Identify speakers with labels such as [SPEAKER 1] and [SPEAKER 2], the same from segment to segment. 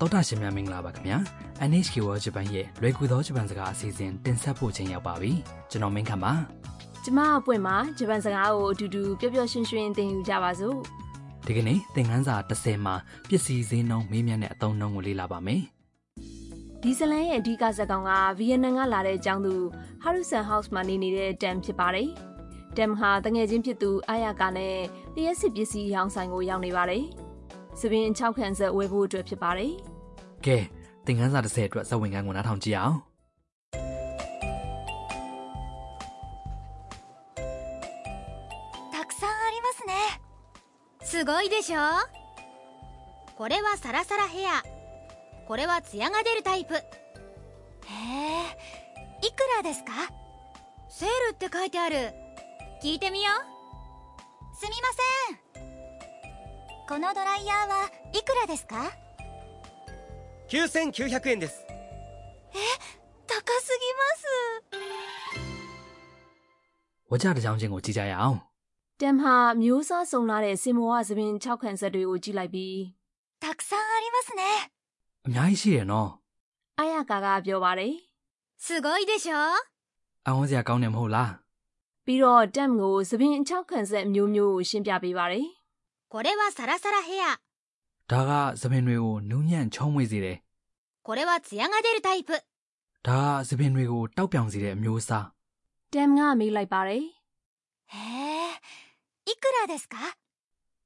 [SPEAKER 1] တော်တာရှင်များမင်္ဂလာပါခင်ဗျာ NHK World Japan ရဲ့လွယ်ကူသောဂျပန်စကားအစီအစဉ်တင်ဆက်ဖို့ချိန်ရောက်ပါပြီကျွန်တော်မင်းခမ်းပါ
[SPEAKER 2] ကျမအပွင့်မှာဂျပန်စကားကိုအတူတူပျော်ပျော်ရွှင်ရွှင်သင်ယူကြပါစို့
[SPEAKER 1] ဒီကနေ့သင်ခန်းစာ30မှာပစ္စည်းဈေးနှုန်းမေးမြန်းတဲ့အသုံးအနှုန်းကိုလေ့လာပါမယ်
[SPEAKER 2] ဒီဇလန်ရဲ့အဓိကဇာတ်ကောင်ကဗီယက်နမ်ကလာတဲ့အကြောင်းသူဟာရူဆန်ဟောက်စ်မှာနေနေတဲ့တမ်ဖြစ်ပါတယ်တမ်ဟာတငယ်ချင်းဖြစ်သူအာယာကာနဲ့တရက်စစ်ပစ္စည်းရောင်းဆိုင်ကိုရောက်နေပါတယ်စပင်း6ခန်းဆက်ဝယ်ဖို့အတွက်ဖြစ်ပါတယ်
[SPEAKER 1] ကဲသင်ခန်းစာ30အတွက်ဇဝင်ခန်းကိုနားထောင်ကြည့်အောင်
[SPEAKER 3] たくさんありますねすごいでしょこれはサラサラヘアこれはツヤが出るタイプへえいくらですかセールって書いてある聞いてみようすみませんこのドライヤーはいくらですか
[SPEAKER 4] 9900円です
[SPEAKER 3] 高すぎます
[SPEAKER 1] ဝါကြတစ်ကြောင်းချင်းကိုကြည့်ကြရအောင်
[SPEAKER 2] တမ်ဟာမျိုးစားစုံလာတဲ့စင်မောကစပင်း6ခန်းဆက်တွေကိုကြည့်လိုက်ပြီး
[SPEAKER 3] たくさんありますね
[SPEAKER 1] အများကြီးရှိတယ်နော်
[SPEAKER 2] အာယာကာကပြောပါတယ်
[SPEAKER 3] すごいでしょ
[SPEAKER 1] အံ့ဩစရာကောင်းတယ်မဟုတ်လား
[SPEAKER 2] ပြီးတော့တမ်ကိုစပင်း6ခန်းဆက်မျိုးမျိုးကိုရှင်းပြပေးပါတယ်
[SPEAKER 3] これはサラサラヘア
[SPEAKER 1] ဒါကသပင်တွေကိုနူးညံ့ချုံးမွေစေတယ်
[SPEAKER 3] これはツヤが出るタイプ
[SPEAKER 1] ဒါကသပင်တွေကိုတောက်ပြောင်စေတဲ့အမျိုးအစား
[SPEAKER 2] တမ်ကမေးလိုက်ပါတယ်
[SPEAKER 3] へえいくらですか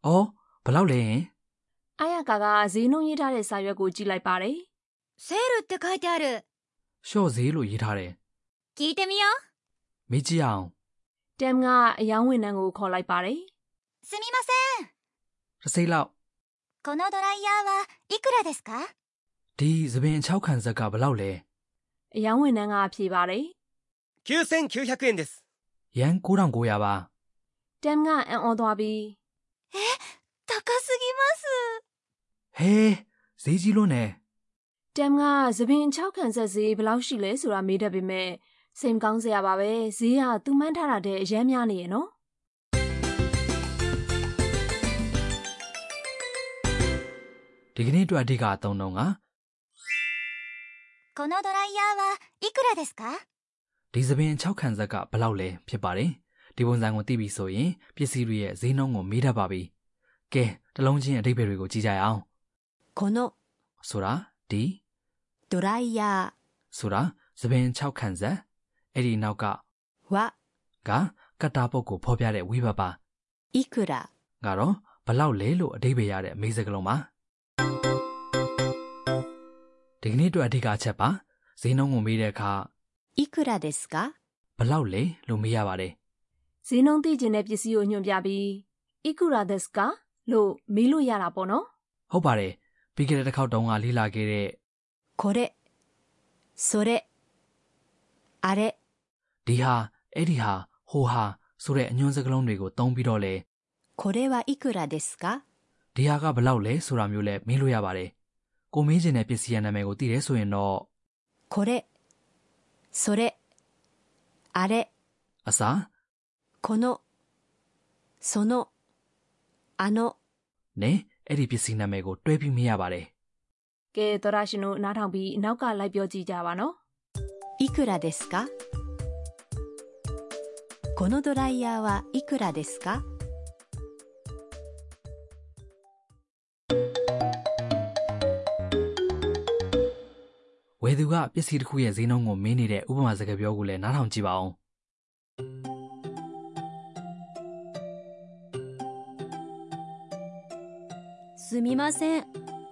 [SPEAKER 1] အော်ဘယ်လောက်လဲရင်
[SPEAKER 2] အာယာကာကဈေးနှုန်းရေးထားတဲ့စာရွက်ကိုကြည့်လိုက်ပါတယ်
[SPEAKER 3] セールって書いてある
[SPEAKER 1] ရှော့ဈေးလို့ရေးထားတယ်
[SPEAKER 3] 聞いてみよう
[SPEAKER 1] မေးကြည့်အောင်
[SPEAKER 2] ။တမ်ကအယောင်းဝန်ထမ်းကိုခေါ်လိုက်ပါတယ်
[SPEAKER 3] すみません
[SPEAKER 1] တစ်စိမ့်လောက်
[SPEAKER 3] このドライヤーはいくらですか
[SPEAKER 1] ဒီသပင်အချောက်ခံဇက်ကဘယ်လောက်လဲ
[SPEAKER 2] ။အယောင်းဝန်ထမ်းကဖြေပါတယ်
[SPEAKER 4] 9900円です
[SPEAKER 1] ရန်9900ပါ
[SPEAKER 2] ။တမ်ကအံ့ဩသွားပြီး
[SPEAKER 3] 高す
[SPEAKER 1] ဟေးဈေးကြီးလွန်းနေ
[SPEAKER 2] တမ်ကသပင်6ခန်းဆက်ဈေးဘယ်လောက်ရှိလဲဆိုတာမေးတတ်ပေမဲ့စိတ်မကောင်းစရာပါပဲ။ဈေးကသူမှန်းထားတာတဲ့အရမ်းများနေရဲ့နော်
[SPEAKER 1] ဒီကနေ့အတွက်အဓိကအသုံးတော့က
[SPEAKER 3] ぎますこのドライヤーはいくらですか
[SPEAKER 1] ဒီသပင်အချောက်ခံဇက်ကဘယ်လောက်လဲဖြစ်ပါတယ်ဒီပုံစံကိုသိပြီဆိုရင်ပစ္စည်းတွေရဲ့ဈေးနှုန်းကိုမေးတတ်ပါပြီကဲတစ်လုံးချင်းအဓိပ္ပာယ်တွေကိုကြည့်ကြရအောင်
[SPEAKER 5] この
[SPEAKER 1] ဆိုတာဒီ
[SPEAKER 5] ドライヤ
[SPEAKER 1] ဆိုတာသပင်အချောက်ခံဇက်အဲ့ဒီနောက်က
[SPEAKER 5] ーは
[SPEAKER 1] ကကတ္တာပုတ်ကိုဖော်ပြတဲ့ဝိဘတ်ပါ
[SPEAKER 5] いくら
[SPEAKER 1] ကတော့ဘယ်လောက်လဲလို့အဓိပ္ပာယ်ရတဲ့အမေးစကားလုံးပါဒီကနေ့အတွက်အဓိကအချက်ပါဈေးနှုန်းကိုမေးတဲ့အခါ
[SPEAKER 5] いくらですか
[SPEAKER 1] ဘလောက်လဲလို့မေးရပါတယ်
[SPEAKER 2] ။ဈေးနှုန်းသိကျင်တဲ့ပစ္စည်းကိုညွှန်ပြပြီးအီကူရာဒက်စကလို့မေးလို့ရတာပေါ့နော်
[SPEAKER 1] ။ဟုတ်ပါတယ်။ပြီးခဲ့တဲ့တစ်ခေါက်တုန်းကလေ့လာခဲ့တဲ့
[SPEAKER 5] これそれあれ
[SPEAKER 1] ဒီဟာအဲ့ဒီဟာဟိုဟာဆိုတဲ့အညွှန်းစကားလုံးတွေကိုသုံးပြီးတော့လေ
[SPEAKER 5] これはいくらですか
[SPEAKER 1] ဒီဟာကဘလောက်လဲဆိုတာမျိုးလဲမေးလို့ရပါတယ်။ကိုမေးချင်တဲ့ပစ္စည်းရဲ့နာမည်ကိုသိတယ်ဆိုရင်တော့
[SPEAKER 5] これそれあれ
[SPEAKER 1] အစား
[SPEAKER 5] このそのあの
[SPEAKER 1] နဲ့အဲ့ဒီပစ္စည်းနာမည်ကိုတွဲပြီးမေးရပါတယ်
[SPEAKER 2] ။ကဲသောရရှင်တို့နားထောင်ပြီးနောက်ကလိုက်ပြောကြည့်ကြပါနော်
[SPEAKER 5] いくらですかこのドライヤーはいくらですか
[SPEAKER 1] ။ဝယ်သူကပစ္စည်းတစ်ခုရဲ့ဈေးနှုန်းကိုမေးနေတဲ့ဥပမာစကားပြောကိုလည်းနားထောင်ကြည့်ပါအောင်
[SPEAKER 5] すみません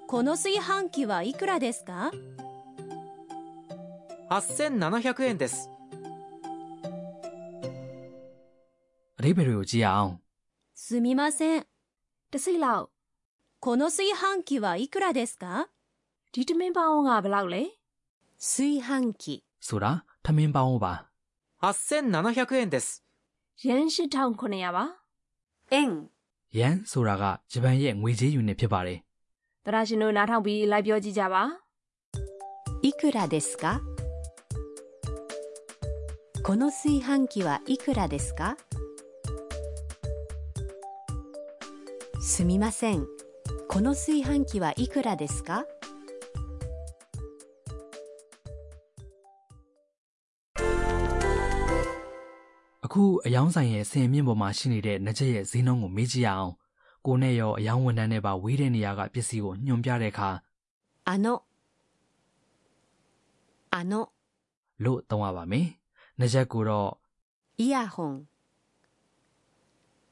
[SPEAKER 5] この炊飯器はいくらですか
[SPEAKER 6] 8700円です
[SPEAKER 1] ။အဓိပ္ပာယ်တွေကိုကြည့်ရအောင်
[SPEAKER 5] すみません
[SPEAKER 2] ။တစ်စိတ်လောက်
[SPEAKER 5] この炊飯器はいくらですか
[SPEAKER 2] ဒီတမင်ပေါင်းကဘယ်လောက်လဲ
[SPEAKER 5] 炊飯器
[SPEAKER 1] ။ဆိုတာထမင်းပေါင်းပါ
[SPEAKER 6] 8700円です
[SPEAKER 2] ။ရန်8900ပါ။
[SPEAKER 5] 円
[SPEAKER 1] ။ယန်ဆိုတာကဂျပန်ရဲ့ငွေကြေးယူနစ်ဖြစ်ပါတယ်။
[SPEAKER 2] သရရှင်တို့နားထောင်ပြီးလိုက်ပြောကြည့်ကြပါ
[SPEAKER 5] いくらですかこの炊飯器はいくらですかすみませんこの炊飯器はいくらですか
[SPEAKER 1] အခုအယောင်းဆိုင်ရဲ့ဆင်မြင့်ပေါ်မှာရှိနေတဲ့နှချက်ရဲ့ဈေးနှုန်းကိုမေးကြည့်ရအောင်ကိုနဲ့ရောအယောင်းဝန်ထမ်းနဲ့ပါဝေးတဲ့နေရာကပစ္စည်းကိုညွှန်ပြတဲ့အခါ
[SPEAKER 5] あのあの
[SPEAKER 1] လို့တောင်းရပါမယ်နှချက်ကိုတော့
[SPEAKER 5] イヤホン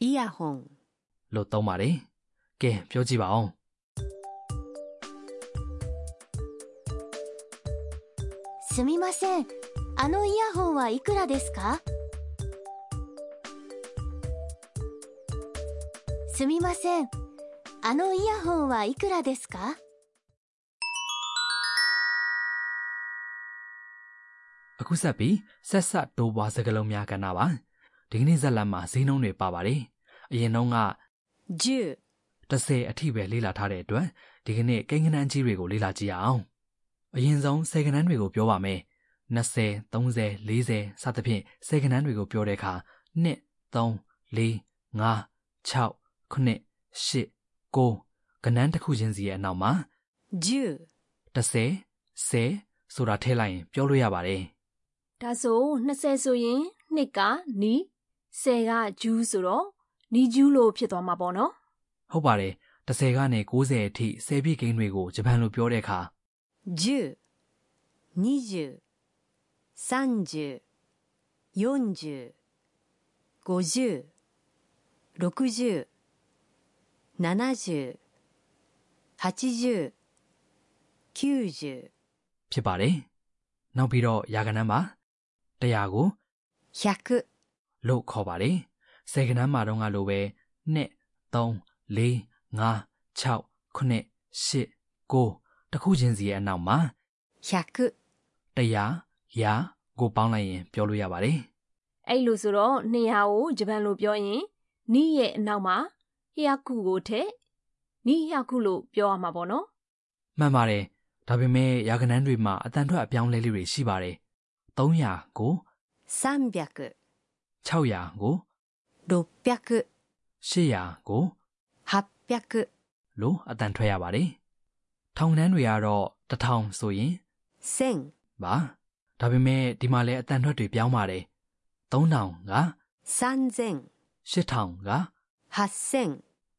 [SPEAKER 5] イヤホン
[SPEAKER 1] လို့တောင်းပါတယ်ကဲပြောကြည့်ပါအောင်
[SPEAKER 3] すみませんあのイヤホンはいくらですかすみませんあのイヤホンはいくらですか
[SPEAKER 1] အခုဆက်ပြီးဆက်ဆက်တိုးပွားစကားလုံးများကဏ္ဍပါဒီကနေ့ဇက်လန်မှာဈေးနှုန်းတွေပါပါတယ်အရင်တုန်းက
[SPEAKER 5] 10
[SPEAKER 1] 30အထိပဲလေ့လာထားတဲ့အတွက်ဒီကနေ့ကိန်းဂဏန်းကြီးတွေကိုလေ့လာကြည့်ရအောင်အရင်ဆုံး10ဂဏန်းတွေကိုပြောပါမယ်20 30 40စသဖြင့်10ဂဏန်းတွေကိုပြောတဲ့အခါ1 3 4 5 6 9 8 9ဂဏန်းတစ်ခုချင်းစီရဲ့အနောက်မှာ
[SPEAKER 5] 10
[SPEAKER 1] 10 10ဆိုတာထည့်လိုက်ရင်ပြောလို့ရပါတယ်
[SPEAKER 2] ဒါဆို20ဆိုရင်2ကနီး10ကဂျူးဆိုတော့နီးဂျူးလို့ဖြစ်သွားမှာပေါ့နော်
[SPEAKER 1] ဟုတ်ပါတယ်30ကနေ90အထိ10ပြည့်ကိန်းတွေကိုဂျပန်လိုပြောတဲ့အခါ
[SPEAKER 5] 10 20 30 40 50 60 70 80 90
[SPEAKER 1] ဖြစ်ပါတယ်နောက်ပြီးတော့ယာကနန်းပါ100ကို
[SPEAKER 5] 100
[SPEAKER 1] လို့ခေါ်ပါတယ်10ကနန်းမှာတော့ကလိုပဲ2 3 4 5 6 9 8 9တခုချင်းစီရဲ့အနောက်မှာ
[SPEAKER 5] 100
[SPEAKER 1] 100ရာကိုပေါင်းလိုက်ရင်ပြောလို့ရပါတယ်
[SPEAKER 2] အဲ့လိုဆိုတော့200ကိုဂျပန်လိုပြောရင်နီးရဲ့အနောက်မှာဟီယာကုကိုထက်နီးဟီယာကုလို့ပြောရမှာပေါ့နော်
[SPEAKER 1] မှန်ပါတယ်ဒါပေမဲ့ယာကနန်းတွေမှာအတန်ထွက်အပြောင်းအလဲလေးတွေရှိပါတယ်300ကို
[SPEAKER 5] 300
[SPEAKER 1] 600ကို
[SPEAKER 5] 600
[SPEAKER 1] 800ကို
[SPEAKER 5] 800
[SPEAKER 1] လို့အတန်ထွက်ရပါတယ်။ထောင်နှန်းတွေကတော့တစ်ထောင်ဆိုရင်
[SPEAKER 5] 1000
[SPEAKER 1] ပါ။ဒါပေမဲ့ဒီမှာလည်းအတန်ထွက်တွေပြောင်းပါတယ်။3000က
[SPEAKER 5] 3000
[SPEAKER 1] 8000က
[SPEAKER 5] 8000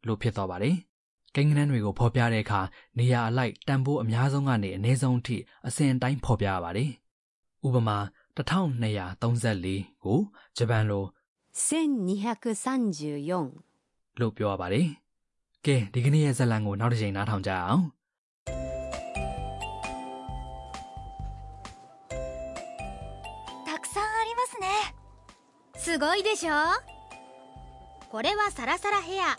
[SPEAKER 1] လို့ဖြစ်သွားပါတယ်။ကိန်းဂဏန်းတွေကိုဖော်ပြတဲ့အခါနေရာအလိုက်တန်ဖိုးအများဆုံးကနေအနည်းဆုံးအထိအစဉ်အတိုင်းဖော်ပြရပါတယ်။ဥပမာ1234ကိုဂျပန်လို
[SPEAKER 5] 1234
[SPEAKER 1] လို့ပြောရပါတယ်။ကဲဒီကနေ့ရဲ့ဇာတ်လမ်းကိုနောက်တစ်ချိန်နားထောင်ကြအောင်။
[SPEAKER 3] たくさんありますねすごいでしょこれはサラサラヘア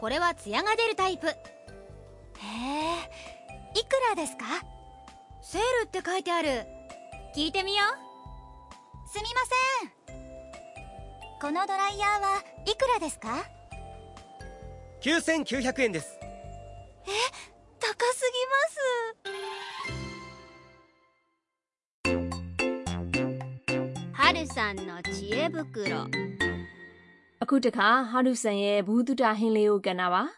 [SPEAKER 3] これはツヤが出るタイプへえいくらですかセールって書いてある聞いてみようすみませんこのドライヤーはいくらですか
[SPEAKER 4] 9900円です
[SPEAKER 3] 高すぎますはるさんの知恵袋
[SPEAKER 2] အခုတခါဟာရုဆန်ရဲ့ဘူးတုတဟင်းလေးကိုကဏ္ဍပါ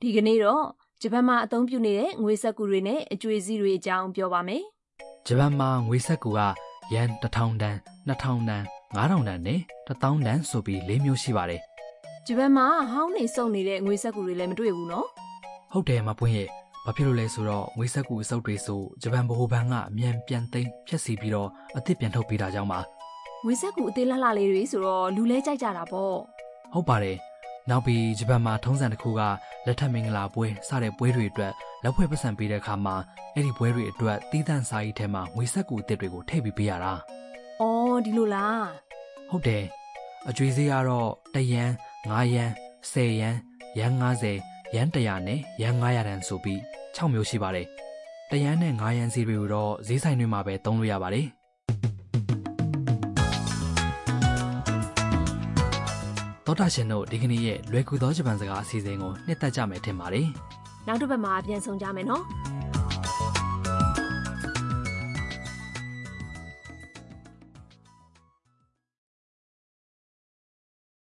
[SPEAKER 2] ဒီကနေ့တော့ဂျပန်မှာအသုံးပြုနေတဲ့ငွေစက္ကူတွေနဲ့အကြွေစည်းတွေအကြောင်းပြောပါမယ်
[SPEAKER 1] ဂျပန်မှာငွေစက္ကူကယန်1000တန်2000တန်5000တန်နဲ့1000တန်ဆိုပြီး၄မျိုးရှိပါတယ်
[SPEAKER 2] ဂျပန်မှာဟောင်းနေစုပ်နေတဲ့ငွေစက္ကူတွေလည်းမတွေ့ဘူးနော်
[SPEAKER 1] ။ဟုတ်တယ်မပွင့်ရဲ့။ဘာဖြစ်လို့လဲဆိုတော့ငွေစက္ကူအစုပ်တွေဆိုဂျပန်ဗဟိုဘဏ်ကအမြန်ပြန်သိမ်းဖျက်ဆီးပြီးတော့အသစ်ပြန်ထုတ်ပေးတာကြောင့်ပါ
[SPEAKER 2] ငွေစက္ကူအသေးလှလှလေးတွေဆိုတော့လူလဲကြိုက်ကြတာပေါ့
[SPEAKER 1] ။ဟုတ်ပါတယ်။နောက်ပြီးဂျပန်မှာထုံးစံတစ်ခုကလက်ထပ်မင်္ဂလာပွဲစတဲ့ပွဲတွေအတွက်လက်ဖွဲ့ပတ်စံပေးတဲ့အခါမှာအဲ့ဒီပွဲတွေအတွက်သီးသန့်စာရေးထဲမှာငွေစက္ကူအသစ်တွေကိုထည့်ပြီးပေးရတာ။
[SPEAKER 2] အော်ဒီလိုလား
[SPEAKER 1] ဟုတ်တယ်အကျွေးစေးကတော့1ရန်5ရန်10ရန်ရန်90ရန်100နဲ့ရန်900တန်ဆိုပြီး6မျိုးရှိပါတယ်တရန်နဲ့9ရန်စီတွေကိုတော့ဈေးဆိုင်တွေမှာပဲသုံးလို့ရပါတယ်သောတာရှင်တို့ဒီကနေ့ရဲ့လွယ်ကူသောဂျပန်စကားအစီအစဉ်ကိုနှစ်သက်ကြမယ်ထင်ပါတယ်
[SPEAKER 2] နောက်တစ်ပတ်မှာပြန်ဆောင်ကြမယ်နော်